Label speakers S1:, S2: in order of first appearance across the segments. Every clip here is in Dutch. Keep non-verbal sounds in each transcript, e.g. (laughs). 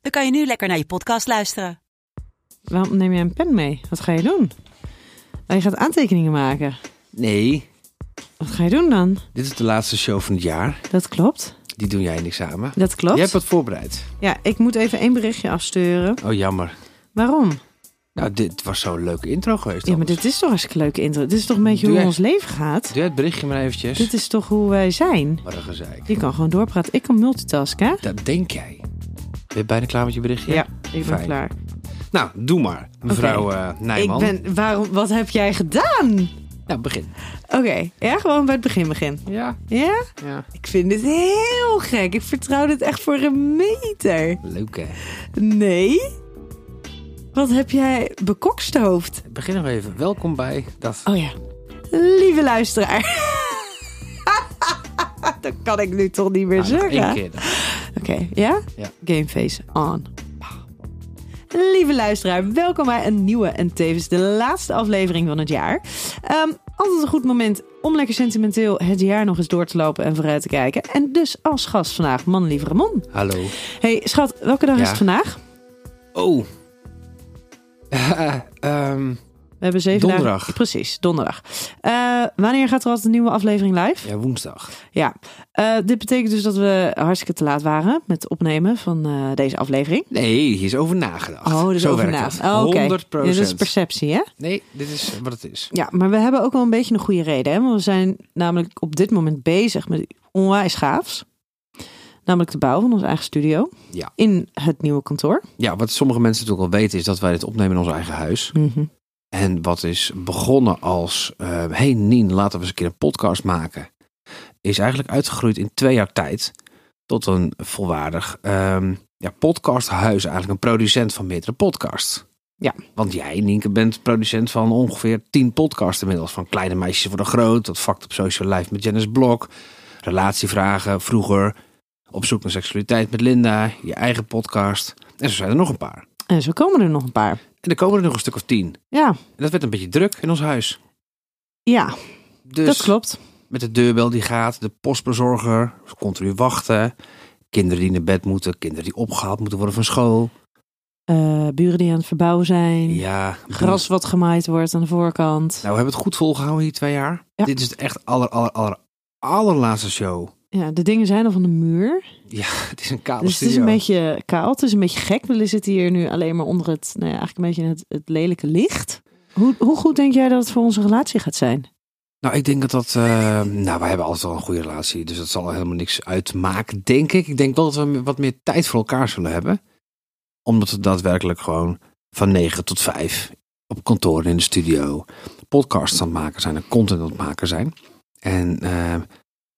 S1: dan kan je nu lekker naar je podcast luisteren.
S2: Waarom neem jij een pen mee? Wat ga je doen? Oh, je gaat aantekeningen maken.
S3: Nee,
S2: Wat ga je doen dan?
S3: dit is de laatste show van het jaar.
S2: Dat klopt.
S3: Die doen jij in examen.
S2: Dat klopt.
S3: Jij hebt wat voorbereid.
S2: Ja, ik moet even één berichtje afsturen.
S3: Oh, jammer.
S2: Waarom?
S3: Nou, dit was zo'n leuke intro geweest.
S2: Ja, maar
S3: anders.
S2: dit is toch hartstikke leuke intro. Dit is toch een beetje
S3: Doe
S2: hoe
S3: jij-
S2: ons leven gaat.
S3: Doe het berichtje maar eventjes.
S2: Dit is toch hoe wij zijn.
S3: Wat een gezeik.
S2: Je kan gewoon doorpraten. Ik kan multitasken. hè?
S3: Dat denk jij. Ben je bijna klaar met je berichtje?
S2: Ja, ik ben
S3: Fijn.
S2: klaar.
S3: Nou, doe maar, mevrouw eh
S2: Ik
S3: Nijman.
S2: ben. Waarom? Wat heb jij gedaan?
S3: Nou, begin.
S2: Oké, ja, gewoon bij het begin begin.
S3: Ja.
S2: Ja?
S3: ja.
S2: Ik vind dit heel gek. Ik vertrouw dit echt voor een meter.
S3: Leuk, hè?
S2: Nee. Wat heb jij bekokstoofd?
S3: Begin nog even. Welkom bij dat...
S2: Oh ja. Lieve luisteraar. (laughs) Dat kan ik nu toch niet meer
S3: Ah, nog
S2: zeggen.
S3: één keer dan.
S2: Oké, ja?
S3: Ja.
S2: Gameface on. Lieve luisteraar, welkom bij een nieuwe en tevens de laatste aflevering van het jaar. Ehm, altijd een goed moment om lekker sentimenteel het jaar nog eens door te lopen en vooruit te kijken. En dus als gast vandaag, manlieve Ramon.
S3: Hallo.
S2: hey, schat, welke dag
S3: Ja.
S2: is het vandaag?
S3: Oh. (laughs) Ehm,
S2: We hebben zeven
S3: Donderdag.
S2: dagen- Precies, donderdag. Eh, wanneer gaat er altijd een nieuwe aflevering live?
S3: ja, woensdag.
S2: Ja. Eh, dit betekent dus dat we hartstikke te laat waren met het opnemen van eh, deze aflevering.
S3: Nee, hier is over nagedacht.
S2: Oh, dus
S3: Zo
S2: over
S3: werkt
S2: na.
S3: dat.
S2: Oh, oké.
S3: 100
S2: Ja, dat is perceptie, hè?
S3: Nee, dit is wat het is.
S2: Ja, maar we hebben ook wel een beetje een goede reden. Hè? Want we zijn namelijk op dit moment bezig met iets onwijs gaafs. Namelijk de bouw van ons eigen studio.
S3: Ja.
S2: In het nieuwe kantoor.
S3: Ja, wat sommige mensen natuurlijk al weten is dat wij dit opnemen in ons eigen huis. En wat is begonnen als, eh hey Nien, laten we eens een keer een podcast maken. Is eigenlijk uitgegroeid in twee jaar tijd tot een volwaardig ehm ja, podcasthuis. Eigenlijk een producent van meerdere podcasts.
S2: Ja.
S3: Want jij, Nienke, bent producent van ongeveer tien podcasts inmiddels. Van Kleine Meisjes Worden Groot, tot Fact op Social Life met Janice Blok. Relatievragen, vroeger. Op zoek naar seksualiteit met Linda. Je eigen podcast. En zo zijn er nog een paar.
S2: En zo komen er nog een paar.
S3: En er komen er nog een stuk of tien.
S2: Ja,
S3: En dat werd een beetje druk in ons huis.
S2: ja
S3: Dus
S2: dat klopt.
S3: met de deurbel die gaat, de postbezorger, continu wachten. Kinderen die naar bed moeten, kinderen die opgehaald moeten worden van school.
S2: Eh, buren die aan het verbouwen zijn.
S3: Ja,
S2: Gras wat gemaaid wordt aan de voorkant.
S3: Nou, we hebben het goed volgehouden hier twee jaar.
S2: Ja.
S3: Dit is de echt aller, aller, aller, allerlaatste show. (laughs)
S2: Ja, de dingen zijn al van de muur.
S3: Ja, het is een kale
S2: Dus het
S3: studio.
S2: is een beetje kaal. Het is een beetje gek. We zitten hier nu alleen maar onder het, nou ja, eigenlijk een beetje in het, het lelijke licht. Hoe, hoe goed denk jij dat het voor onze relatie gaat zijn?
S3: Nou, ik denk dat dat... eh, nou, wij hebben altijd al een goede relatie, dus dat zal helemaal niks uitmaken, denk ik. Ik denk wel dat we wat meer tijd voor elkaar zullen hebben. Omdat we daadwerkelijk gewoon van 9 tot 5 op kantoor en in de studio podcasts aan het maken zijn en content aan het maken zijn. En eh,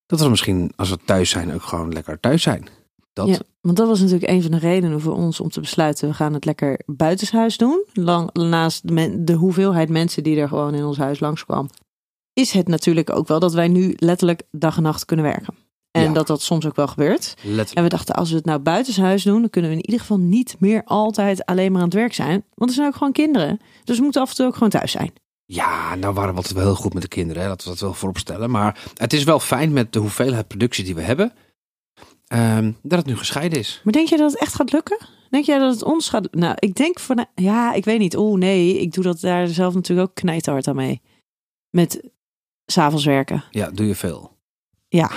S3: dat we misschien, als we thuis zijn, ook gewoon lekker thuis zijn. Dat,
S2: Ja, want dat was natuurlijk een van de redenen voor ons om te besluiten, we gaan het lekker buitenshuis doen. Lang, naast de, men- de hoeveelheid mensen die er gewoon in ons huis langskwam, is het natuurlijk ook wel dat wij nu letterlijk dag en nacht kunnen werken. En
S3: Ja.
S2: dat dat soms ook wel gebeurt.
S3: letterlijk.
S2: En we dachten, als we het nou buitenshuis doen, dan kunnen we in ieder geval niet meer altijd alleen maar aan het werk zijn. Want er zijn ook gewoon kinderen. Dus we moeten af en toe ook gewoon thuis zijn.
S3: Ja, nou waren we altijd wel heel goed met de kinderen. Hè? Laten we dat wel voorop stellen. Maar het is wel fijn met de hoeveelheid productie die we hebben. ehm, dat het nu gescheiden is.
S2: Maar denk jij dat het echt gaat lukken? Denk jij dat het ons gaat... Nou, ik denk van... Ja, ik weet niet. Oeh, nee. Ik doe dat daar zelf natuurlijk ook knijterhard aan mee. Met s'avonds werken.
S3: Ja, doe je veel.
S2: Ja.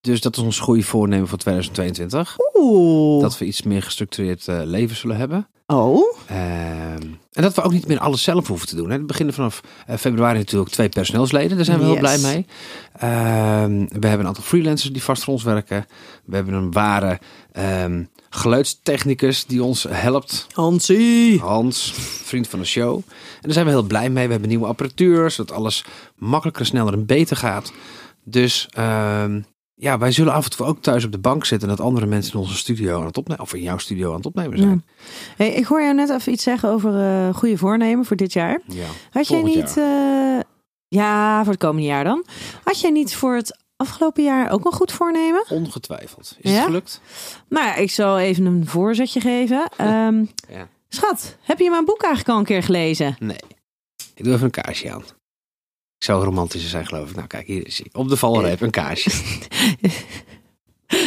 S3: Dus dat is ons goede voornemen voor 2022.
S2: Oeh.
S3: Dat we iets meer gestructureerd eh, leven zullen hebben.
S2: Oh.
S3: Ehm, en dat we ook niet meer alles zelf hoeven te doen. Hè. We beginnen vanaf eh, februari natuurlijk twee personeelsleden. Daar zijn we heel
S2: Yes.
S3: blij mee. Ehm, we hebben een aantal freelancers die vast voor ons werken. We hebben een ware ehm, geluidstechnicus die ons helpt
S2: Hansie.
S3: Hans, vriend van de show. En daar zijn we heel blij mee. We hebben nieuwe apparatuur, zodat alles makkelijker, sneller en beter gaat. Dus ehm,
S4: ja, wij zullen af en toe ook thuis op de bank zitten en dat andere mensen in onze studio aan het opnemen, of in jouw studio aan het opnemen zijn.
S2: Hey, ik hoor jou net even iets zeggen over eh, goede voornemen voor dit jaar.
S4: Ja.
S2: Had jij
S4: Volgend
S2: niet, eh, ja, voor het komende jaar dan. Had jij niet voor het afgelopen jaar ook een goed voornemen?
S4: Ongetwijfeld. Is
S2: Ja?
S4: het gelukt?
S2: Maar ik zal even een voorzetje geven. Ehm,
S4: Ja.
S2: Schat, heb je mijn boek eigenlijk al een keer gelezen?
S4: Nee. Ik doe even een kaarsje aan. Ik zou romantischer zijn, geloof ik. Nou, kijk, hier is hij. Op de valreep, een
S2: (laughs)
S4: kaarsje.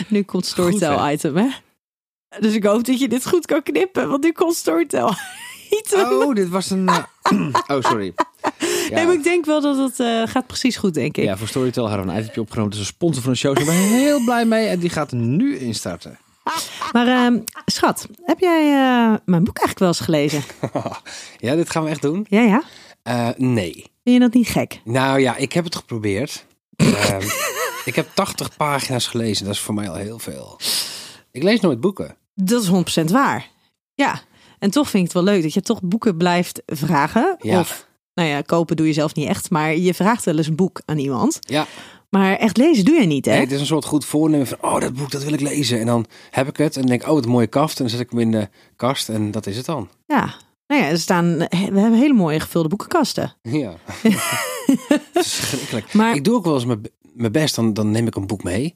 S2: Nu komt
S4: Goed,
S2: Storytel
S4: hè?
S2: item, hè? Dus ik hoop dat je dit goed kan knippen, want nu komt Storytel (laughs) item.
S4: Oh, dit was een... eh, (clears throat) oh, sorry. Ja.
S2: Nee, maar ik denk wel dat het eh, gaat precies goed, denk ik.
S4: Ja, voor Storytel hadden we een itemje opgenomen. Dus een sponsor van de show. Daar zijn we heel (laughs) blij mee. En die gaat er nu instarten.
S2: Maar ehm, schat, heb jij eh, mijn boek eigenlijk wel eens gelezen?
S3: (laughs) Ja, dit gaan we echt doen?
S2: Ja, ja.
S3: Eh, nee.
S2: Vind je dat niet gek?
S3: Nou ja, ik heb het geprobeerd. Ehm, (laughs) ik heb 80 pagina's gelezen. Dat is voor mij al heel veel. Ik lees nooit boeken.
S2: Dat is 100% waar. Ja. En toch vind ik het wel leuk dat je toch boeken blijft vragen.
S3: Ja.
S2: Of, nou ja, kopen doe je zelf niet echt, maar je vraagt wel eens een boek aan iemand.
S3: Ja,
S2: Maar echt lezen doe je niet, hè?
S3: nee, het is een soort goed voornemen van, oh, dat boek, dat wil ik lezen. En dan heb ik het en dan denk ik, oh, wat een mooie kaft. En dan zet ik hem in de kast en dat is het dan.
S2: Ja. Nou ja, er staan, we hebben hele mooie gevulde boekenkasten. (laughs)
S3: Ja. Verschrikkelijk.
S2: Maar-
S3: Ik doe ook wel eens mijn, mijn best, dan, dan neem ik een boek mee.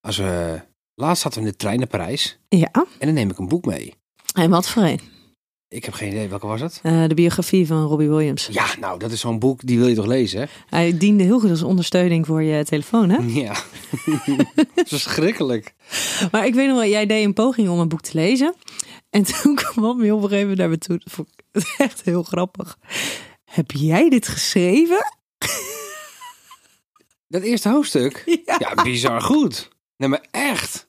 S3: Als we, laatst zaten we in de trein naar Parijs
S2: Ja.
S3: en dan neem ik een boek mee.
S2: En wat voor een?
S3: Ik heb geen idee, welke was het?
S2: Eh, de biografie van Robbie Williams.
S3: Ja, nou, dat is zo'n boek, die wil je toch lezen?
S2: (laughs) Hij diende heel goed als ondersteuning voor je telefoon, hè?
S3: (laughs) Ja. Verschrikkelijk.
S2: Maar ik weet nog wel, jij deed een poging om een boek te lezen. En toen (laughs) kwam je op een gegeven moment naar me toe. Dat vond ik echt heel grappig. Heb jij dit geschreven?
S3: Dat eerste hoofdstuk?
S2: (laughs) Ja.
S3: Ja, bizar goed. Nee, maar echt.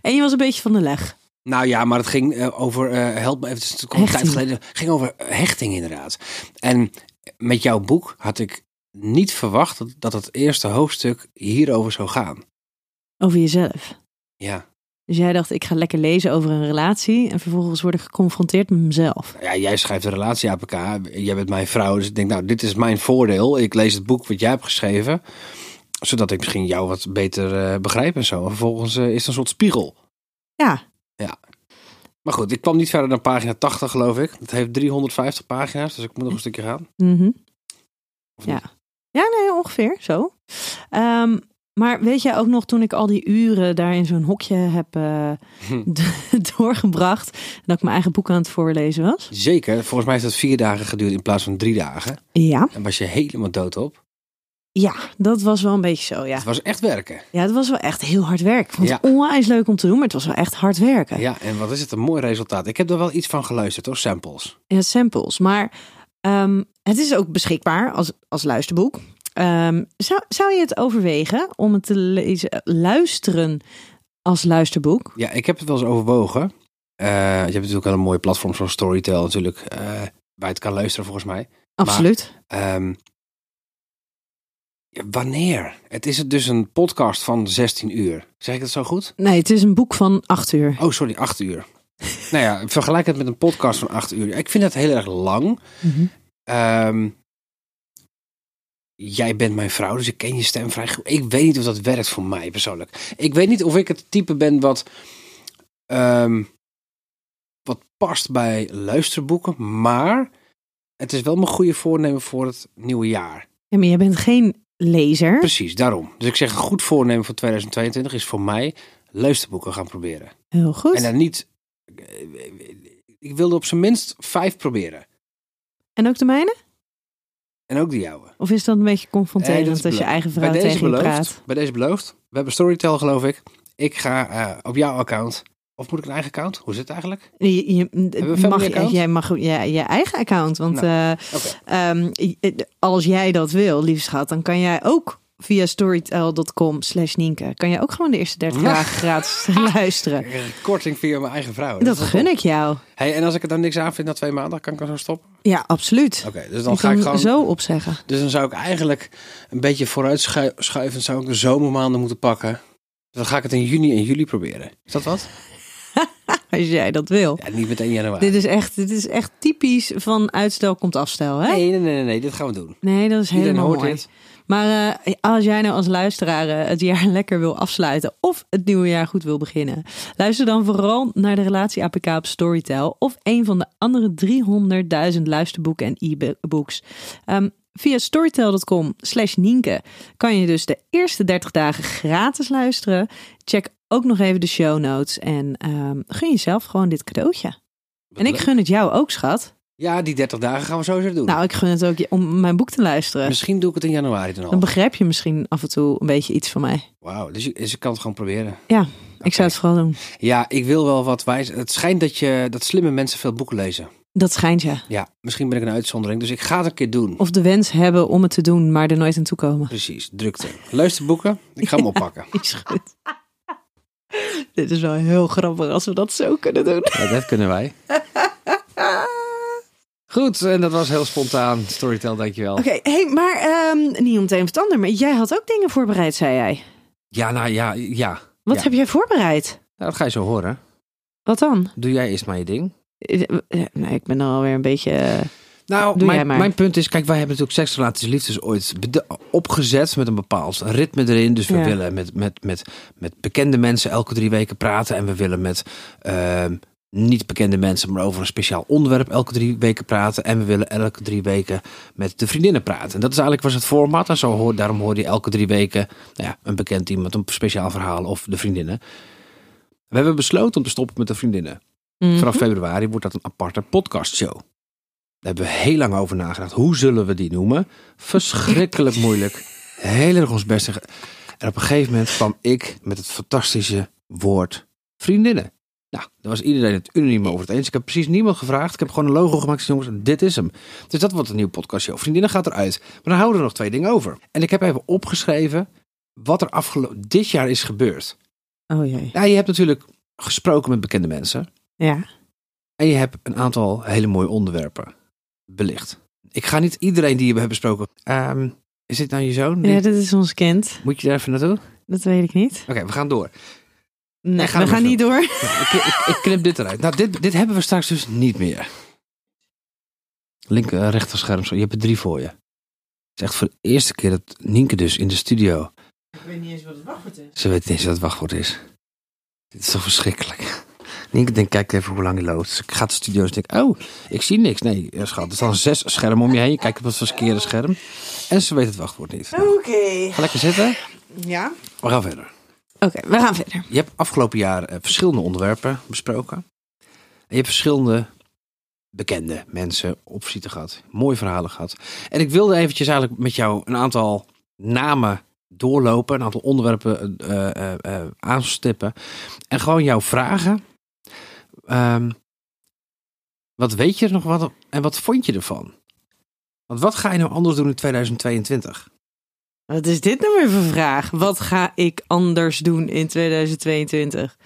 S2: En je was een beetje van de leg.
S3: Nou ja, maar het ging eh, over, eh, help me even, het is natuurlijk al een tijd
S2: Hechting.
S3: geleden. Het ging over hechting inderdaad. En met jouw boek had ik niet verwacht dat, dat het eerste hoofdstuk hierover zou gaan.
S2: Over jezelf.
S3: Ja.
S2: Dus jij dacht, ik ga lekker lezen over een relatie. En vervolgens word ik geconfronteerd met mezelf.
S3: Nou ja, jij schrijft een relatie APK, jij bent mijn vrouw. Dus ik denk, nou, dit is mijn voordeel. Ik lees het boek wat jij hebt geschreven. Zodat ik misschien jou wat beter eh, begrijp en zo. En vervolgens eh, is het een soort spiegel.
S2: Ja,
S3: Maar goed, ik kwam niet verder dan pagina 80, geloof ik. Het heeft 350 pagina's, dus ik moet nog een stukje gaan.
S2: mhm.
S3: Of
S2: Ja. ja nee, ongeveer zo. Ehm, maar weet jij ook nog toen ik al die uren daar in zo'n hokje heb eh,
S3: Hm.
S2: d- (laughs) doorgebracht. En dat ik mijn eigen boek aan het voorlezen was?
S3: niet? Zeker, volgens mij heeft het vier dagen geduurd in plaats van drie dagen.
S2: Ja.
S3: En was je helemaal dood op.
S2: Ja, dat was wel een beetje zo, ja.
S3: Het was echt werken.
S2: Ja, het was wel echt heel hard werk. Ik vond het
S3: Ja.
S2: onwijs leuk om te doen, maar het was wel echt hard werken.
S3: Ja, en wat is het, een mooi resultaat. Ik heb er wel iets van geluisterd, hoor, samples.
S2: Ja, samples. Maar ehm, het is ook beschikbaar als, als luisterboek. Ehm, zou, zou je het overwegen om het te lezen, luisteren als luisterboek?
S3: Ja, ik heb het wel eens overwogen. Eh, je hebt natuurlijk wel een mooie platform zoals Storytel natuurlijk. eh, waar je het kan luisteren, volgens mij.
S2: Absoluut.
S3: Ehm, ja, wanneer? Het is dus een podcast van 16 uur. Zeg ik dat zo goed?
S2: Nee, het is een boek van acht uur.
S3: Oh, sorry, acht uur. nou ja, vergelijk het met een podcast van acht uur. Ik vind dat heel erg lang. Ehm, jij bent mijn vrouw, dus ik ken je stem vrij goed. Ik weet niet of dat werkt voor mij persoonlijk. Ik weet niet of ik het type ben wat, ehm, wat past bij luisterboeken. Maar het is wel mijn goede voornemen voor het nieuwe jaar.
S2: Ja, maar jij bent geen lezer.
S3: Precies, daarom. Dus ik zeg een goed voornemen voor 2022 is voor mij luisterboeken gaan proberen.
S2: Heel goed.
S3: En dan niet. Ik wilde op zijn minst vijf proberen.
S2: En ook de mijne?
S3: En ook de jouwe.
S2: Of is dat een beetje confronterend
S3: Eh,
S2: als
S3: dat is
S2: je
S3: belo-
S2: eigen vrouw tegen je praat?
S3: Bij deze beloofd. We hebben Storytel, geloof ik. Ik ga eh, op jouw account. Of moet ik een eigen account? Hoe zit het eigenlijk?
S2: Je, je-
S3: we een
S2: mag,
S3: account? Nou.
S2: jij mag je, je eigen account. Want eh, (laughs) ehm, je- als jij dat wil, lieve schat, dan kan jij ook via storytel.com slash Nienke. Kan jij ook gewoon de eerste 30
S3: Ja.
S2: dagen gratis (laughs) luisteren.
S3: Eh, Korting via mijn eigen vrouw.
S2: Dat gun ik jou.
S3: Hey, en als ik het dan niks aan vind na twee maanden, kan ik dan zo stoppen?
S2: Ja, absoluut.
S3: Oké, dus
S2: Je
S3: dan ga ik
S2: kan
S3: gewoon.
S2: zo opzeggen.
S3: Dus dan zou ik eigenlijk een beetje vooruitschuiven. Zou ik de zomermaanden moeten pakken? Dus dan ga ik het in juni en juli proberen. Is dat wat?
S2: Als jij dat wil.
S3: Ja, niet meteen januari.
S2: Dit is, echt, dit is echt typisch van uitstel komt afstel. Hè?
S3: Nee, nee, nee, nee, nee. Dit gaan we doen.
S2: Nee, dat is
S3: Iedereen
S2: helemaal
S3: hoort
S2: mooi.
S3: dit.
S2: Maar eh, als jij nou als luisteraar eh, het jaar (laughs) lekker wil afsluiten of het nieuwe jaar goed wil beginnen, luister dan vooral naar de Relatie APK op Storytel of een van de andere 300.000 luisterboeken en e-books. Ehm, via storytel.com slash Nienke kan je dus de eerste 30 dagen gratis luisteren. Check ook nog even de show notes en ehm, gun jezelf gewoon dit cadeautje. En ik gun het jou ook, schat.
S5: Ja, die 30 dagen gaan we sowieso doen.
S2: Nou, ik gun het ook je om mijn boek te luisteren.
S5: Misschien doe ik het in januari dan
S2: Dan
S5: al.
S2: begrijp je misschien af en toe een beetje iets van mij.
S5: Wauw, dus ik, dus ik kan het gewoon proberen.
S2: Ja, ik zou het vooral doen.
S5: Ja, ik wil wel wat wijs. Het schijnt dat, je, dat slimme mensen veel boeken lezen.
S2: Dat schijnt ja.
S5: Ja, misschien ben ik een uitzondering. Dus ik ga het een keer doen.
S2: Of de wens hebben om het te doen, maar er nooit aan toe komen. (laughs)
S5: Precies, drukte. Luisterboeken, ik
S3: (laughs)
S5: ga hem oppakken.
S2: Is goed. (laughs) Dit is wel heel grappig als we dat zo kunnen doen. (laughs) Ah.
S3: Ja, dat kunnen wij. Goed, en dat was heel spontaan. Storytel, dankjewel.
S2: Oké, hey, maar ehm, niet om het een of het ander, maar jij had ook dingen voorbereid, zei jij.
S3: Ja, nou ja, ja.
S2: Wat
S3: Ja.
S2: heb jij voorbereid?
S3: Nou, dat ga je zo horen.
S2: Wat dan?
S3: Doe jij eerst maar je ding.
S2: Eh, eh, Nee, ik ben er alweer een beetje... eh,
S3: Nou,
S2: Doe jij
S3: mijn,
S2: maar.
S3: mijn punt is, kijk, wij hebben natuurlijk seksrelaties liefdes ooit bede- opgezet met een bepaald ritme erin. Dus we
S2: Ja.
S3: willen met, met, met, met bekende mensen elke drie weken praten. En we willen met ehm, niet bekende mensen, maar over een speciaal onderwerp elke drie weken praten. En we willen elke drie weken met de vriendinnen praten. En dat is eigenlijk was het format. En zo hoor, daarom hoor je elke drie weken nou ja, een bekend iemand, een speciaal verhaal of de vriendinnen. We hebben besloten om te stoppen met de vriendinnen.
S2: mhm.
S3: Vanaf februari wordt dat een aparte podcastshow. Daar hebben we heel lang over nagedacht. Hoe zullen we die noemen? Verschrikkelijk moeilijk. Heel erg ons best. En op een gegeven moment kwam ik met het fantastische woord vriendinnen. Nou, daar was iedereen het unaniem over het eens. Ik heb precies niemand gevraagd. Ik heb gewoon een logo gemaakt. Ik zei, Jongens, dit is hem. Dus dat wordt een nieuwe podcastshow. Vriendinnen gaat eruit. Maar dan houden er nog twee dingen over. En ik heb even opgeschreven wat er afgelopen dit jaar is gebeurd.
S2: Oh jee.
S3: Nou, je hebt natuurlijk gesproken met bekende mensen.
S2: Ja.
S3: En je hebt een aantal hele mooie onderwerpen belicht. Ik ga niet iedereen die je hebt besproken. Ehm, is dit nou je zoon?
S2: ja, dit is ons kind.
S3: Moet je daar even naartoe? Oké,
S2: Dat weet ik niet.
S3: we gaan door.
S2: Nee,
S3: ga
S2: we
S3: er maar
S2: gaan
S3: zo.
S2: niet door.
S3: ik, ik, ik knip dit eruit. Nou, dit, dit hebben we straks dus niet meer. Linker, rechter scherm. zo. Je hebt er drie voor je. Het is echt voor de eerste keer dat Nienke dus in de studio... Ik weet niet eens wat het wachtwoord is. Ze weet niet eens wat het wachtwoord is. Dit is toch verschrikkelijk. Nienke denkt, kijk even hoe lang hij loopt. Dus ik ga de studio en denk, oh, ik zie niks. Nee, eh, schat, er staan zes schermen om je heen. Je kijkt op het verkeerde scherm. En ze weet het wachtwoord niet. Nou,
S2: Oké.
S3: ga lekker zitten.
S2: Ja.
S3: We gaan verder.
S2: Oké, we gaan verder.
S3: Je hebt afgelopen jaar eh, verschillende onderwerpen besproken. En je hebt verschillende bekende mensen op visite gehad. Mooie verhalen gehad. En ik wilde eventjes eigenlijk met jou een aantal namen doorlopen. Een aantal onderwerpen eh, eh, eh, aanstippen. En gewoon jou vragen. ehm, wat weet je er nog wat en wat vond je ervan? Want wat ga je nou anders doen in 2022?
S2: Wat is dit nou weer voor vraag? Wat ga ik anders doen in 2022?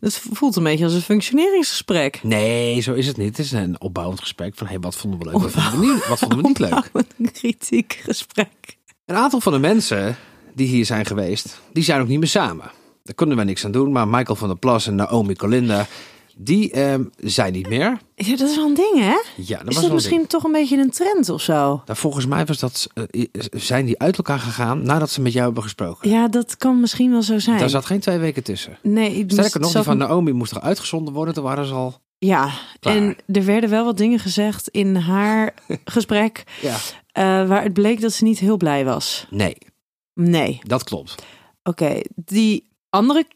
S2: Dat voelt een beetje als een functioneringsgesprek.
S3: Nee, zo is het niet. Het is een opbouwend gesprek van hey, wat vonden we leuk, wat vonden we niet, wat vonden we niet
S2: (laughs)
S3: leuk.
S2: Een kritiek gesprek.
S3: Een aantal van de mensen die hier zijn geweest, die zijn ook niet meer samen. Daar konden wij niks aan doen, maar Michael van der Plas en Naomi Colinda, die ehm, zijn niet meer.
S2: Ja, dat is wel een ding, hè?
S3: Ja, dat
S2: is
S3: was
S2: dat
S3: wel
S2: misschien toch een beetje een trend of zo?
S3: Daar, volgens mij was dat, eh, zijn die uit elkaar gegaan nadat ze met jou hebben gesproken.
S2: Ja, dat kan misschien wel zo zijn.
S3: Daar zat geen twee weken tussen.
S2: Nee, ik
S3: Sterker nog, die
S2: zat-
S3: van Naomi moest toch uitgezonden worden, toen waren ze al...
S2: Ja,
S3: Klaar.
S2: en er werden wel wat dingen gezegd in
S3: (laughs)
S2: haar gesprek...
S3: Ja.
S2: eh, waar het bleek dat ze niet heel blij was.
S3: Nee,
S2: Nee,
S3: dat klopt.
S2: oké. Die andere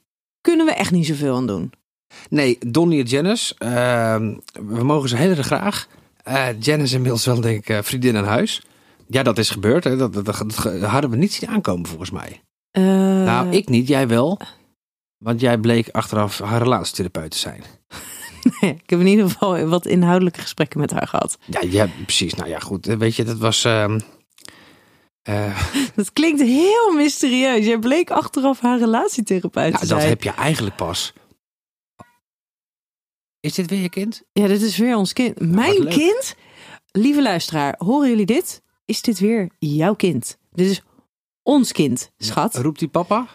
S2: kunnen we echt niet zoveel aan doen.
S3: Nee, Donnie en Janice. ehm, we mogen ze heel erg graag. Eh Janice inmiddels wel, denk ik, eh, vriendin aan huis. Ja, dat is gebeurd. Hè. Dat, dat, dat, dat hadden we niet zien aankomen, volgens mij.
S2: Eh,
S3: nou, ik niet, jij wel. Want jij bleek achteraf haar relatietherapeut te zijn.
S2: (laughs) Ik heb in ieder geval wat inhoudelijke gesprekken met haar gehad.
S3: Ja, ja, precies. Nou ja, goed. eh, Weet je, dat was... ehm, eh,
S2: Dat klinkt heel mysterieus. Jij bleek achteraf haar relatietherapeut
S3: nou,
S2: te
S3: dat
S2: zijn.
S3: heb je eigenlijk pas... Is dit weer je kind?
S2: Ja, dit is weer ons kind. Mijn
S3: leuk.
S2: kind? Lieve luisteraar, horen jullie dit? Is dit weer jouw kind? Dit is ons kind, schat.
S3: Roept die papa?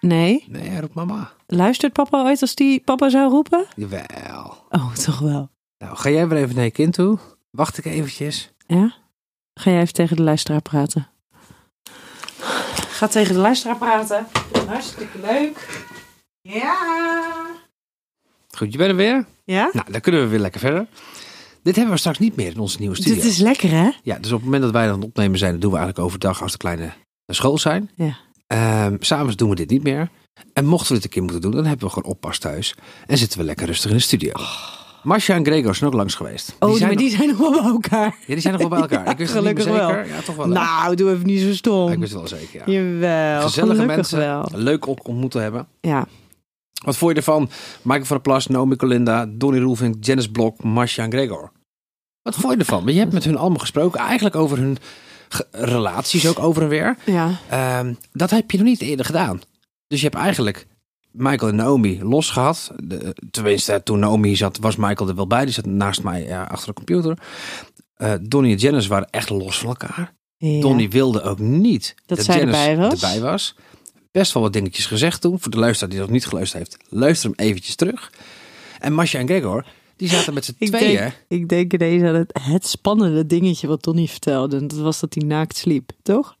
S2: Nee.
S3: Nee, hij roept mama.
S2: Luistert papa ooit als die papa zou roepen?
S3: Jawel.
S2: Oh, (laughs) toch wel.
S3: Nou, ga jij weer even naar je kind toe? Wacht ik eventjes.
S2: Ja? Ga jij even tegen de luisteraar praten? Ga tegen de luisteraar praten. Hartstikke leuk. Ja.
S3: Goed, je bent er weer.
S2: Ja?
S3: Nou, dan kunnen we weer lekker verder. Dit hebben we straks niet meer in onze nieuwe studio.
S2: Dit is lekker, hè?
S3: Ja, dus op het moment dat wij dan aan het opnemen zijn, dat doen we eigenlijk overdag als de kleine naar school zijn.
S2: Ja.
S3: Ehm, S'avonds doen we dit niet meer. En mochten we dit een keer moeten doen, dan hebben we gewoon oppas thuis. En zitten we lekker rustig in de studio. Marcia en Gregor zijn ook langs geweest.
S2: Oh,
S3: zijn
S2: maar
S3: nog-
S2: die zijn nog wel bij elkaar.
S3: ja, die zijn nog
S2: (laughs)
S3: wel bij elkaar.
S2: Ja,
S3: ik wist het niet meer
S2: gelukkig
S3: zeker. Ja, toch wel. hè?
S2: Nou, doe even niet zo
S3: Ja,
S2: stom.
S3: ik wist het wel zeker, ja.
S2: Jawel,
S3: Gezellige
S2: gelukkig
S3: mensen.
S2: wel.
S3: Leuk op ontmoet te hebben.
S2: Ja.
S3: Wat vond je ervan? Michael van der Plas, Naomi Colinda, Donnie Roelvink, Janice Blok, Marcia en Gregor. Wat vond je ervan? Want Je hebt met hun allemaal gesproken. Eigenlijk over hun ge- relaties ook over en weer.
S2: Ja.
S3: Ehm, dat heb je nog niet eerder gedaan. Dus je hebt eigenlijk Michael en Naomi los gehad. De- tenminste, toen Naomi hier zat, was Michael er wel bij. Die zat naast mij ja, achter de computer. Eh Donnie en Janice waren echt los van elkaar.
S2: ja.
S3: Donnie wilde ook niet
S2: Dat zij
S3: Janice
S2: erbij was.
S3: erbij was. Best wel wat dingetjes gezegd toen. Voor de luisteraar die nog niet geluisterd heeft, luister hem eventjes terug. En Masha en Gregor, die zaten met z'n
S2: (laughs) Ik
S3: tweeën.
S2: denk, ik denk ineens aan het, het spannende dingetje wat Donnie vertelde. En dat was dat hij naakt sliep, toch?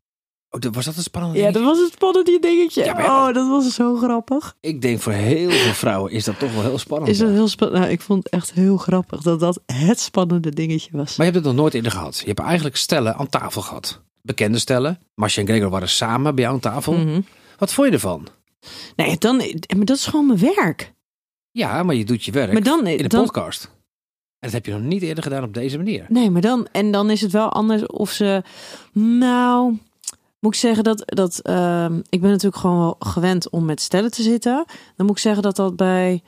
S3: Oh, dat- was dat een spannende
S2: Ja,
S3: dingetje?
S2: dat was het spannende dingetje.
S3: Ja, maar ja.
S2: Oh, dat was zo grappig.
S3: Ik denk voor heel veel vrouwen is dat toch wel heel spannend.
S2: Is
S3: Oh, ja.
S2: dat heel spannend? Nou, ik vond het echt heel grappig dat dat het spannende dingetje was.
S3: Maar je hebt het nog nooit eerder gehad. Je hebt eigenlijk stellen aan tafel gehad. Bekende stellen. Marcia en Gregor waren samen bij jou aan tafel.
S2: Mhm.
S3: Wat vond je ervan?
S2: Nee, dan, maar dat is gewoon mijn werk.
S3: Ja, maar je doet je werk
S2: Maar dan,
S3: in de
S2: dan,
S3: podcast. En dat heb je nog niet eerder gedaan op deze manier.
S2: Nee, maar dan, en dan is het wel anders of ze. Nou, moet ik zeggen dat. dat ehm, ik ben natuurlijk gewoon wel gewend om met stellen te zitten. Dan moet ik zeggen dat dat bij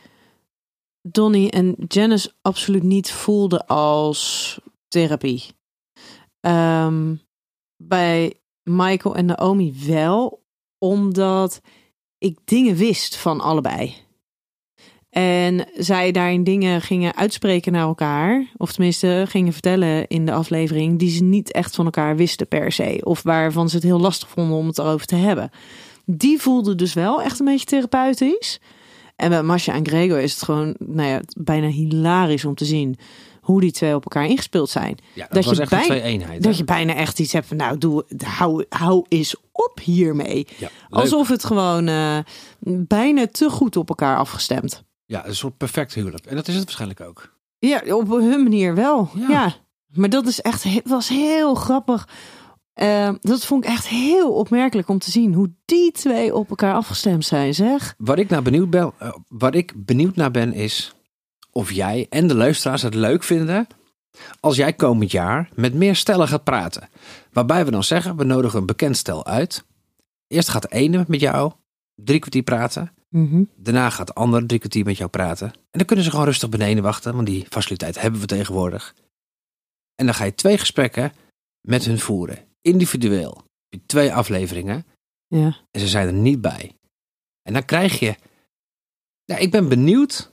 S2: Donnie en Janice absoluut niet voelde als therapie. Ehm, bij Michael en Naomi wel, omdat ik dingen wist van allebei. En zij daarin dingen gingen uitspreken naar elkaar. Of tenminste, gingen vertellen in de aflevering die ze niet echt van elkaar wisten per se. Of waarvan ze het heel lastig vonden om het erover te hebben. Die voelde dus wel echt een beetje therapeutisch. En bij Masha en Gregor is het gewoon nou ja, bijna hilarisch om te zien hoe die twee op elkaar ingespeeld zijn.
S3: Ja, dat,
S2: Dat
S3: was
S2: je
S3: echt een
S2: bij-
S3: twee-eenheid.
S2: Dat
S3: hè?
S2: je bijna echt iets hebt van, nou, doe, hou, hou eens op hiermee.
S3: Ja, leuk.
S2: Alsof het gewoon eh, bijna te goed op elkaar afgestemd.
S3: ja, een soort perfect huwelijk. En dat is het waarschijnlijk ook.
S2: Ja, op hun manier wel.
S3: Ja.
S2: Ja. Maar dat is echt, he- was heel grappig. Eh, dat vond ik echt heel opmerkelijk om te zien hoe die twee op elkaar afgestemd zijn, zeg.
S3: Waar ik, naar benieuwd ben, eh, waar ik benieuwd naar ben is of jij en de luisteraars het leuk vinden als jij komend jaar met meer stellen gaat praten. Waarbij we dan zeggen, we nodigen een bekend stel uit. Eerst gaat de ene met jou drie kwartier praten.
S2: Mhm.
S3: Daarna gaat de ander drie kwartier met jou praten. En dan kunnen ze gewoon rustig beneden wachten, want die faciliteit hebben we tegenwoordig. En dan ga je twee gesprekken met hun voeren. Individueel. Heb je twee afleveringen
S2: Ja.
S3: en ze zijn er niet bij. En dan krijg je. Ja, ik ben benieuwd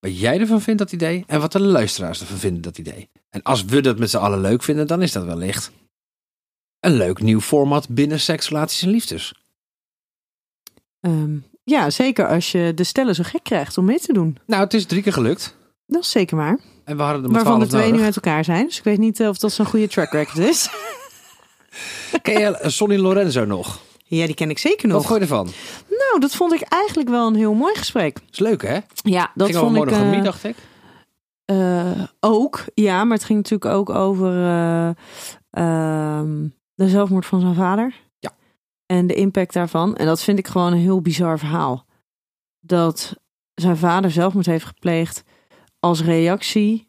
S3: wat jij ervan vindt, dat idee. En wat de luisteraars ervan vinden, dat idee. En als we dat met z'n allen leuk vinden, dan is dat wellicht. Een leuk nieuw format binnen seks, relaties en liefdes.
S2: Ehm, ja, zeker als je de stellen zo gek krijgt om mee te doen.
S3: Nou, het is drie keer gelukt.
S2: Dat is zeker waar.
S3: En we hadden er maar
S2: Waarvan de
S3: 12
S2: twee
S3: nodig.
S2: nu uit elkaar zijn. Dus ik weet niet eh, of dat zo'n goede track record is.
S3: (laughs) Ken je eh, Sonny Lorenzo nog?
S2: (laughs) ja, die ken ik zeker nog.
S3: Wat gooi je ervan?
S2: Nou, dat vond ik eigenlijk wel een heel mooi gesprek.
S3: Is leuk, hè?
S2: Ja, dat
S3: Ging over
S2: vond ik eh,
S3: monogamie, dacht ik.
S2: eh, ook. Ja, maar het ging natuurlijk ook over eh, ehm, de zelfmoord van zijn vader.
S3: Ja.
S2: En de impact daarvan. En dat vind ik gewoon een heel bizar verhaal. Dat zijn vader zelfmoord heeft gepleegd als reactie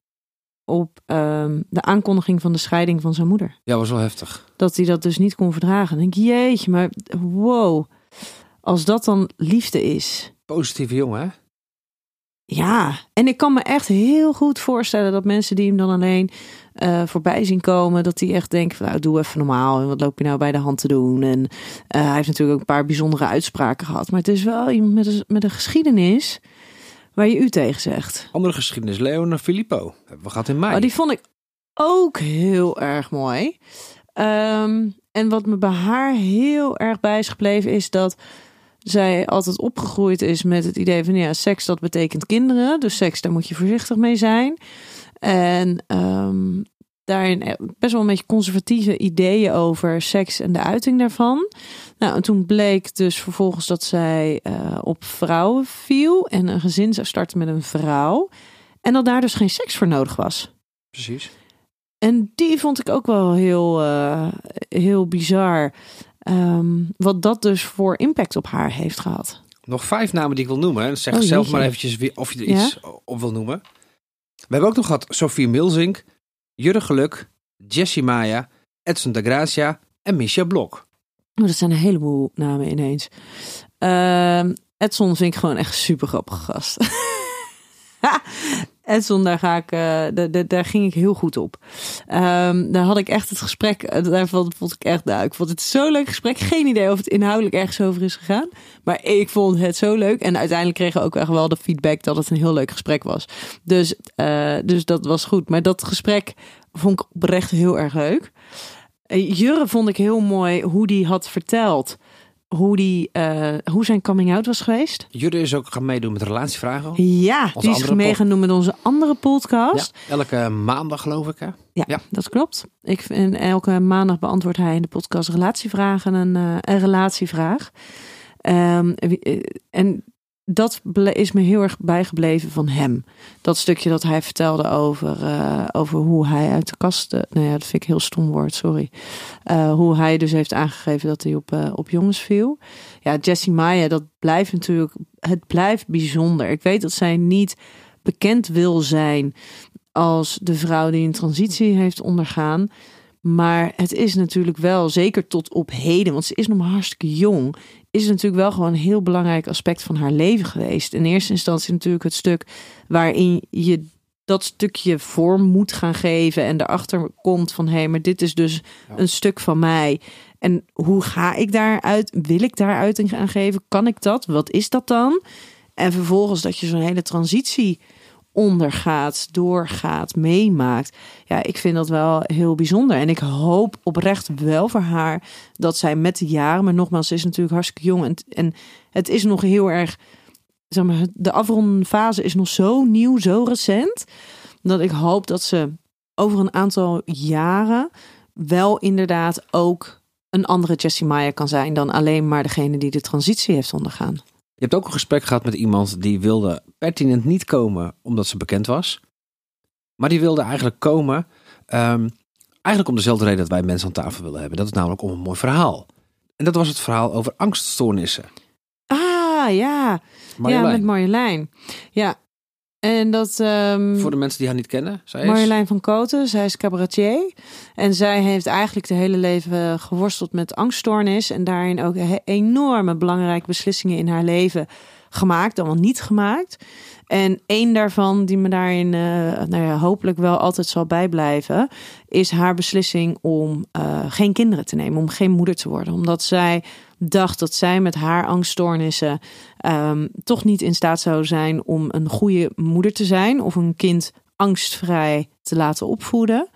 S2: op ehm, de aankondiging van de scheiding van zijn moeder
S3: Ja, was wel heftig.
S2: dat hij dat dus niet kon verdragen. Dan denk ik, jeetje, maar wow. Als dat dan liefde is.
S3: Positieve jongen, hè?
S2: Ja, en ik kan me echt heel goed voorstellen dat mensen die hem dan alleen eh, voorbij zien komen, dat die echt denken van nou, doe even normaal en wat loop je nou bij de hand te doen. En eh, hij heeft natuurlijk ook een paar bijzondere uitspraken gehad, maar het is wel iemand met een, met een geschiedenis waar je u tegen zegt.
S3: Andere geschiedenis, Leon en Filippo. Hebben we gehad in mei.
S2: Maar Oh, die vond ik ook heel erg mooi. Ehm, en wat me bij haar heel erg bij is gebleven is dat zij altijd opgegroeid is met het idee van ja, seks dat betekent kinderen. Dus seks, daar moet je voorzichtig mee zijn. En ehm, daarin eh, best wel een beetje conservatieve ideeën over seks en de uiting daarvan. Nou, en toen bleek dus vervolgens dat zij eh, op vrouwen viel en een gezin zou starten met een vrouw. En dat daar dus geen seks voor nodig was.
S5: Precies.
S2: En die vond ik ook wel heel, eh, heel bizar. Ehm, wat dat dus voor impact op haar heeft gehad.
S3: Nog vijf namen die ik wil noemen. hè. Zeg
S2: Oh,
S3: zelf
S2: jeetje.
S3: maar eventjes wie- of je er iets eh, op wil noemen. We hebben ook nog gehad Sophie Milzink, Jurre Geluk, Jessie Maya, Edson de Gracia en Misha Blok.
S2: Oh, dat zijn een heleboel namen ineens. Ehm, Edson vind ik gewoon echt super grappig gast. (laughs) Edson, daar, ga ik, eh, da- da- daar ging ik heel goed op. Ehm, daar had ik echt het gesprek, eh, daarvan vond ik echt, nou, ik vond het zo'n leuk gesprek. Geen idee of het inhoudelijk ergens over is gegaan. Maar ik vond het zo leuk. En uiteindelijk kregen we ook echt wel de feedback dat het een heel leuk gesprek was. Dus, eh, dus dat was goed. Maar dat gesprek vond ik oprecht heel erg leuk. Eh, Jurre vond ik heel mooi hoe die had verteld hoe, die, eh, hoe zijn coming out was geweest.
S3: Jurre is ook gaan meedoen met relatievragen.
S2: Ja, die is
S3: andere
S2: meegenomen met onze andere podcast.
S3: Ja, elke maandag geloof ik hè.
S2: Ja,
S3: Ja.
S2: dat klopt. Ik vind, elke maandag beantwoordt hij in de podcast relatievragen een, eh, een relatievraag. Ehm, wie- eh, en dat ble- is me heel erg bijgebleven van hem. Dat stukje dat hij vertelde over, eh, over hoe hij uit de kast... eh, nou ja, dat vind ik een heel stom woord, sorry. Eh, hoe hij dus heeft aangegeven dat hij op, eh, op jongens viel. Ja, Jessie Maya, dat blijft natuurlijk... Het blijft bijzonder. Ik weet dat zij niet bekend wil zijn als de vrouw die een transitie heeft ondergaan. Maar het is natuurlijk wel, zeker tot op heden, want ze is nog maar hartstikke jong, is het natuurlijk wel gewoon een heel belangrijk aspect van haar leven geweest. In eerste instantie natuurlijk het stuk waarin je dat stukje vorm moet gaan geven en erachter komt van hé, maar dit is dus een stuk van mij. En hoe ga ik daaruit? Wil ik daar uiting aan geven? Kan ik dat? Wat is dat dan? En vervolgens dat je zo'n hele transitie ondergaat, doorgaat, meemaakt. Ja, ik vind dat wel heel bijzonder. En ik hoop oprecht wel voor haar dat zij met de jaren, maar nogmaals, ze is natuurlijk hartstikke jong. En, en het is nog heel erg, zeg maar, het- de afrondende fase is nog zo nieuw, zo recent. Dat ik hoop dat ze over een aantal jaren wel inderdaad ook een andere Jessie Maya kan zijn dan alleen maar degene die de transitie heeft ondergaan.
S3: Je hebt ook een gesprek gehad met iemand die wilde pertinent niet komen omdat ze bekend was. Maar die wilde eigenlijk komen, ehm, eigenlijk om dezelfde reden dat wij mensen aan tafel willen hebben. Dat is namelijk om een mooi verhaal. En dat was het verhaal over angststoornissen.
S2: Ah, ja. Ja,
S3: Marjolein,
S2: met Marjolein. Ja. En dat... ehm,
S3: voor de mensen die haar niet kennen, zij is...
S2: Marjolein van Koten, zij is cabaretier. En zij heeft eigenlijk de hele leven geworsteld met angststoornis. En daarin ook he- enorme belangrijke beslissingen in haar leven gemaakt, dan wel niet gemaakt. En één daarvan, die me daarin eh, nou ja, hopelijk wel altijd zal bijblijven, is haar beslissing om eh, geen kinderen te nemen, om geen moeder te worden. Omdat zij dacht dat zij met haar angststoornissen ehm, toch niet in staat zou zijn om een goede moeder te zijn of een kind angstvrij te laten opvoeden.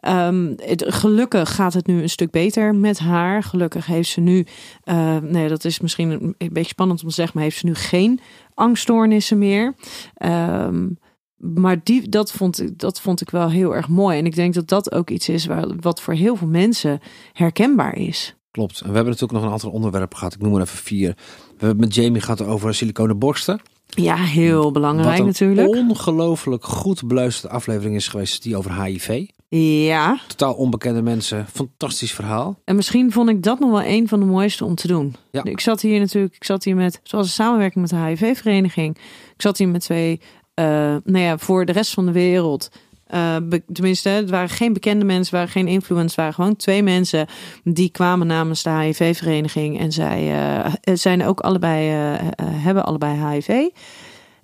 S2: Ehm, het, gelukkig gaat het nu een stuk beter met haar. Gelukkig heeft ze nu, eh, nee, dat is misschien een, een beetje spannend om te zeggen, maar heeft ze nu geen angststoornissen meer. Ehm, maar die, dat, vond, ik- dat vond ik wel heel erg mooi. En ik denk dat dat ook iets is waar, wat voor heel veel mensen herkenbaar is.
S3: Klopt. En we hebben natuurlijk nog een aantal onderwerpen gehad. Ik noem maar even vier. We hebben met Jamie gehad over siliconen borsten.
S2: Ja, heel belangrijk
S3: Wat een
S2: natuurlijk.
S3: ongelooflijk goed beluisterde aflevering is geweest die over HIV.
S2: Ja,
S3: Totaal onbekende mensen. Fantastisch verhaal.
S2: en misschien vond ik dat nog wel een van de mooiste om te doen.
S3: Ja.
S2: Ik zat hier natuurlijk, ik zat hier met, zoals een samenwerking met de HIV-vereniging. Ik zat hier met twee, eh, nou ja, voor de rest van de wereld. eh, be- tenminste, het waren geen bekende mensen, het waren geen influencers, het waren gewoon twee mensen die kwamen namens de HIV-vereniging. En zij eh, zijn ook allebei, eh, eh, hebben allebei HIV.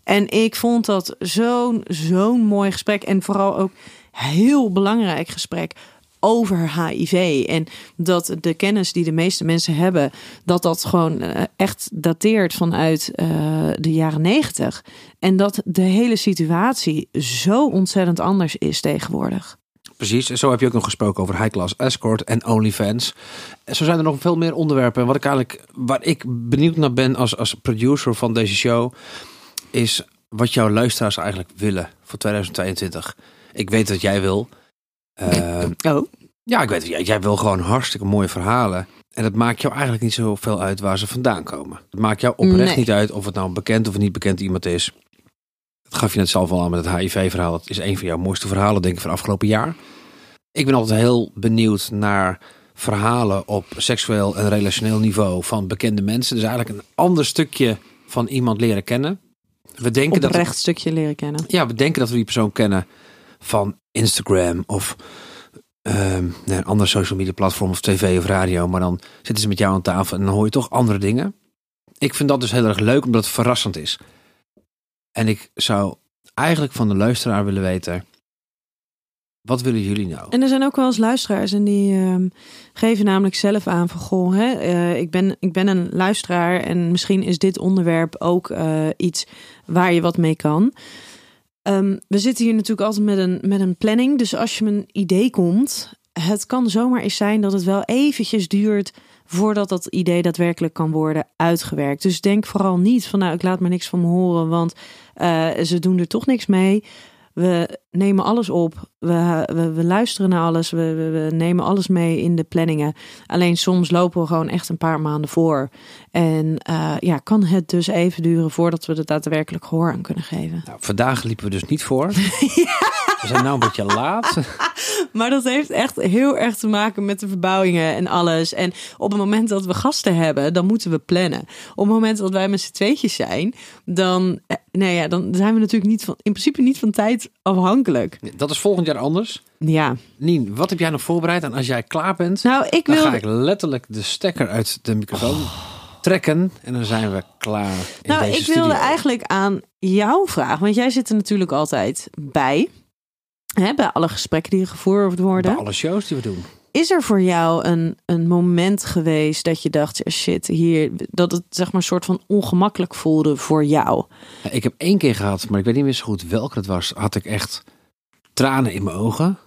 S2: En ik vond dat zo'n zo'n mooi gesprek. En vooral ook heel belangrijk gesprek over HIV. En dat de kennis die de meeste mensen hebben, dat dat gewoon eh, echt dateert vanuit eh, de jaren negentig. En dat de hele situatie zo ontzettend anders is tegenwoordig.
S3: Precies, en zo heb je ook nog gesproken over High Class Escort en OnlyFans. En zo zijn er nog veel meer onderwerpen. En Wat ik eigenlijk, waar ik benieuwd naar ben als, als producer van deze show, is wat jouw luisteraars eigenlijk willen voor 2022. Ik weet dat jij wil. Eh, Eh,
S2: Oh.
S3: ja, ik weet het. Jij, jij wil gewoon hartstikke mooie verhalen. En het maakt jou eigenlijk niet zoveel uit waar ze vandaan komen. Het maakt jou oprecht
S2: Nee.
S3: niet uit of het nou een bekend of niet bekend iemand is. Dat gaf je net zelf al aan met het HIV-verhaal. Dat is een van jouw mooiste verhalen, denk ik, van afgelopen jaar. Ik ben altijd heel benieuwd naar verhalen op seksueel en relationeel niveau van bekende mensen. Dus eigenlijk een ander stukje van iemand leren kennen. We denken dat het-
S2: Oprecht stukje leren kennen.
S3: ja, we denken dat we die persoon kennen van Instagram of ehm, nee, een ander social media platform of tv of radio. Maar dan zitten ze met jou aan tafel en dan hoor je toch andere dingen. Ik vind dat dus heel erg leuk, omdat het verrassend is. En ik zou eigenlijk van de luisteraar willen weten, wat willen jullie nou?
S2: En er zijn ook wel eens luisteraars en die ehm, geven namelijk zelf aan van goh, hè, eh, ik, ben, ik ben een luisteraar en misschien is dit onderwerp ook eh, iets waar je wat mee kan. Ehm, we zitten hier natuurlijk altijd met een, met een planning, dus als je met een idee komt, het kan zomaar eens zijn dat het wel eventjes duurt voordat dat idee daadwerkelijk kan worden uitgewerkt. Dus denk vooral niet van nou, ik laat maar niks van me horen, want eh, ze doen er toch niks mee. We nemen alles op. We, we, we luisteren naar alles. We, we, we nemen alles mee in de planningen. Alleen soms lopen we gewoon echt een paar maanden voor. En eh, ja, kan het dus even duren voordat we er daadwerkelijk gehoor aan kunnen geven.
S3: Nou, vandaag liepen we dus niet voor. We zijn nou een beetje laat.
S2: (laughs) Maar dat heeft echt heel erg te maken met de verbouwingen en alles. En op het moment dat we gasten hebben, dan moeten we plannen. Op het moment dat wij met z'n tweetjes zijn, dan, eh, nou ja, dan zijn we natuurlijk niet van, in principe niet van tijd afhankelijk.
S3: Dat is volgend jaar anders.
S2: Ja,
S3: Nien, wat heb jij nog voorbereid? En als jij klaar bent,
S2: nou ik
S3: Dan
S2: wil.
S3: ga ik letterlijk de stekker uit de microfoon trekken. En dan zijn we klaar. In
S2: Nou,
S3: deze
S2: ik wilde
S3: studio.
S2: eigenlijk aan jou vragen, want jij zit er natuurlijk altijd bij. Hè, bij alle gesprekken die gevoerd worden.
S3: Bij alle shows die we doen.
S2: Is er voor jou een, een moment geweest dat je dacht, ja, shit, hier, dat het zeg maar een soort van ongemakkelijk voelde voor jou?
S3: Ja, Ik heb één keer gehad, maar ik weet niet meer zo goed welke het was. Had ik echt tranen in mijn ogen.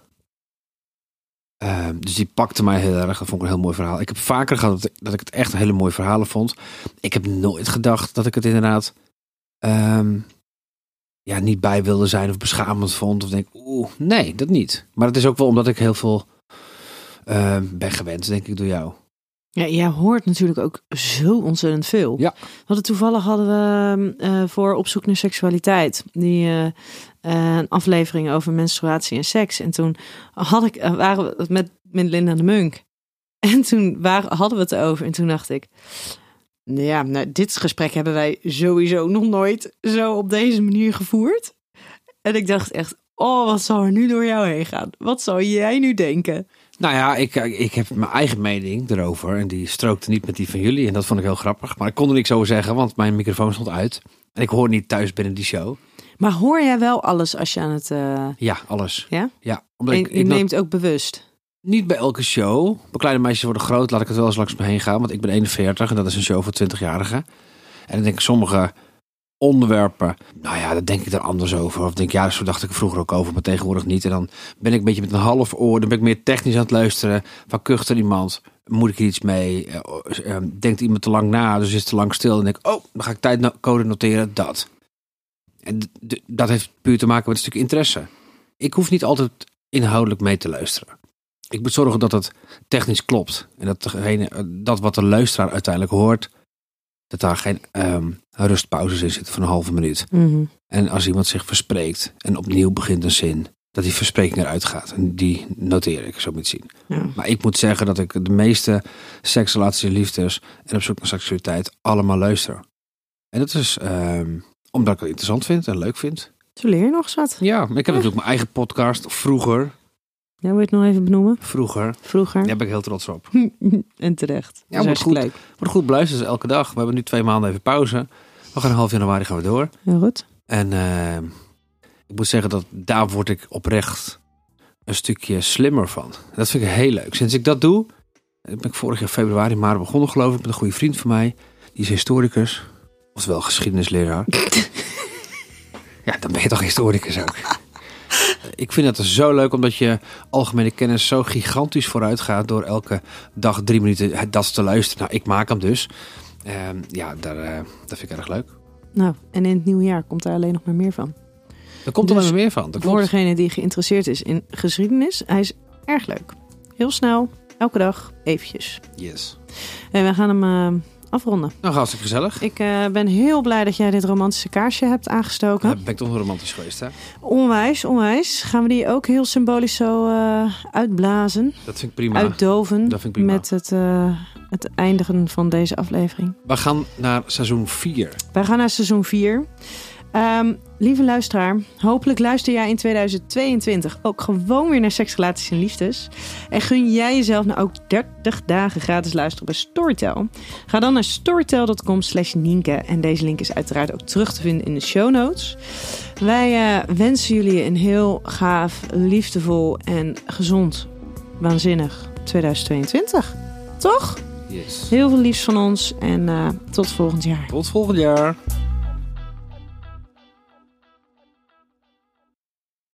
S3: Ehm, dus die pakte mij heel erg. Dat vond ik een heel mooi verhaal. Ik heb vaker gehad dat ik, dat ik het echt hele mooie verhalen vond. Ik heb nooit gedacht dat ik het inderdaad ehm, ja, niet bij wilde zijn of beschamend vond. Of denk, oeh, nee, dat niet. Maar het is ook wel omdat ik heel veel ehm, ben gewend, denk ik, door jou.
S2: Ja, jij hoort natuurlijk ook zo ontzettend veel.
S3: Ja.
S2: Want toevallig hadden we eh, voor Op zoek naar seksualiteit die eh, eh, een aflevering over menstruatie en seks. En toen had ik, eh, waren we met, met Linda de Munk. (laughs) En toen waren, hadden we het erover. En toen dacht ik, nou ja, nou, dit gesprek hebben wij sowieso nog nooit zo op deze manier gevoerd. En ik dacht echt, oh, wat zal er nu door jou heen gaan? Wat zou jij nu denken?
S3: Nou ja, ik, ik heb mijn eigen mening erover. En die strookte niet met die van jullie. En dat vond ik heel grappig. Maar ik kon er niks over zeggen, want mijn microfoon stond uit. En ik hoor niet thuis binnen die show.
S2: Maar hoor jij wel alles als je aan het... eh,
S3: Ja, alles.
S2: Ja?
S3: Ja, omdat ik,
S2: en je
S3: ik
S2: neemt ook bewust.
S3: nog niet bij elke show. Mijn kleine meisjes worden groot, laat ik het wel eens langs me heen gaan. Want ik ben 41 en dat is een show voor 20-jarigen. En dan denk ik sommige onderwerpen, nou ja, daar denk ik er anders over. Of denk, ja, zo dacht ik er vroeger ook over, maar tegenwoordig niet. En dan ben ik een beetje met een half oor, dan ben ik meer technisch aan het luisteren. Van kucht er iemand, moet ik hier iets mee? Eh, eh, Denkt iemand te lang na, dus is te lang stil. En denk ik, oh, dan ga ik tijdcode noteren, dat. En d- d- dat heeft puur te maken met een stuk interesse. Ik hoef niet altijd inhoudelijk mee te luisteren. Ik moet zorgen dat het technisch klopt. En dat, degene, eh, dat wat de luisteraar uiteindelijk hoort, dat daar geen ehm, rustpauzes in zitten van een halve minuut.
S2: Mhm.
S3: En als iemand zich verspreekt en opnieuw begint een zin, dat die verspreking eruit gaat. En die noteer ik, zo moet je het zien.
S2: Ja.
S3: Maar ik moet zeggen dat ik de meeste seks, relaties, liefdes en op zoek naar seksualiteit allemaal luister. En dat is ehm, omdat ik het interessant vind en leuk vind.
S2: Zo leer je nog eens wat.
S3: Ja, ik heb natuurlijk mijn eigen podcast. Vroeger,
S2: Jij wil je het nog even benoemen.
S3: vroeger,
S2: Vroeger.
S3: daar ben ik heel trots op.
S2: en terecht.
S3: maar
S2: hartstikke
S3: goed.
S2: leuk.
S3: Wordt goed beluisterd dus elke dag. We hebben nu twee maanden even pauze. We gaan half januari gaan we door.
S2: Heel goed. (laughs)
S3: En eh, ik moet zeggen dat daar word ik oprecht een stukje slimmer van. Dat vind ik heel leuk. Sinds ik dat doe, eh, ben ik vorig jaar februari, maart begonnen geloof ik, met een goede vriend van mij. Die is historicus, oftewel geschiedenisleraar. ja, dan ben je toch historicus ook. (laughs) Ik vind dat zo leuk omdat je algemene kennis zo gigantisch vooruit gaat door elke dag drie minuten het- dat te luisteren. Nou, ik maak hem dus. Ehm, ja, daar, eh, dat vind ik erg leuk.
S2: Nou, en in het nieuwe jaar komt daar alleen nog maar meer van.
S3: Er komt
S2: Dus
S3: er alleen maar meer van. Dat
S2: Voor
S3: klopt.
S2: degene die geïnteresseerd is in geschiedenis. Hij is Erg leuk. Heel snel, elke dag, eventjes.
S3: Yes.
S2: En we gaan hem eh, afronden.
S3: Nou, hartstikke gezellig.
S2: Ik eh, ben heel blij dat jij dit romantische kaarsje hebt aangestoken.
S3: Ja, ben ik toch nog romantisch geweest, hè?
S2: Onwijs, onwijs. Gaan we die ook heel symbolisch zo eh, uitblazen,
S3: Dat vind ik prima.
S2: uitdoven
S3: dat vind ik prima.
S2: met het, eh, het eindigen van deze aflevering.
S3: We gaan naar seizoen 4.
S2: Wij gaan naar seizoen 4. lieve luisteraar, hopelijk luister jij in 2022 ook gewoon weer naar Seks, Relaties en Liefdes. En gun jij jezelf nou ook 30 dagen gratis luisteren bij Storytel. Ga dan naar storytel.com slash Nienke. En deze link is uiteraard ook terug te vinden in de show notes. Wij eh, wensen jullie een heel gaaf, liefdevol en gezond, waanzinnig 2022. Toch?
S3: Yes.
S2: Heel veel liefs van ons en eh, tot volgend jaar.
S3: Tot volgend jaar.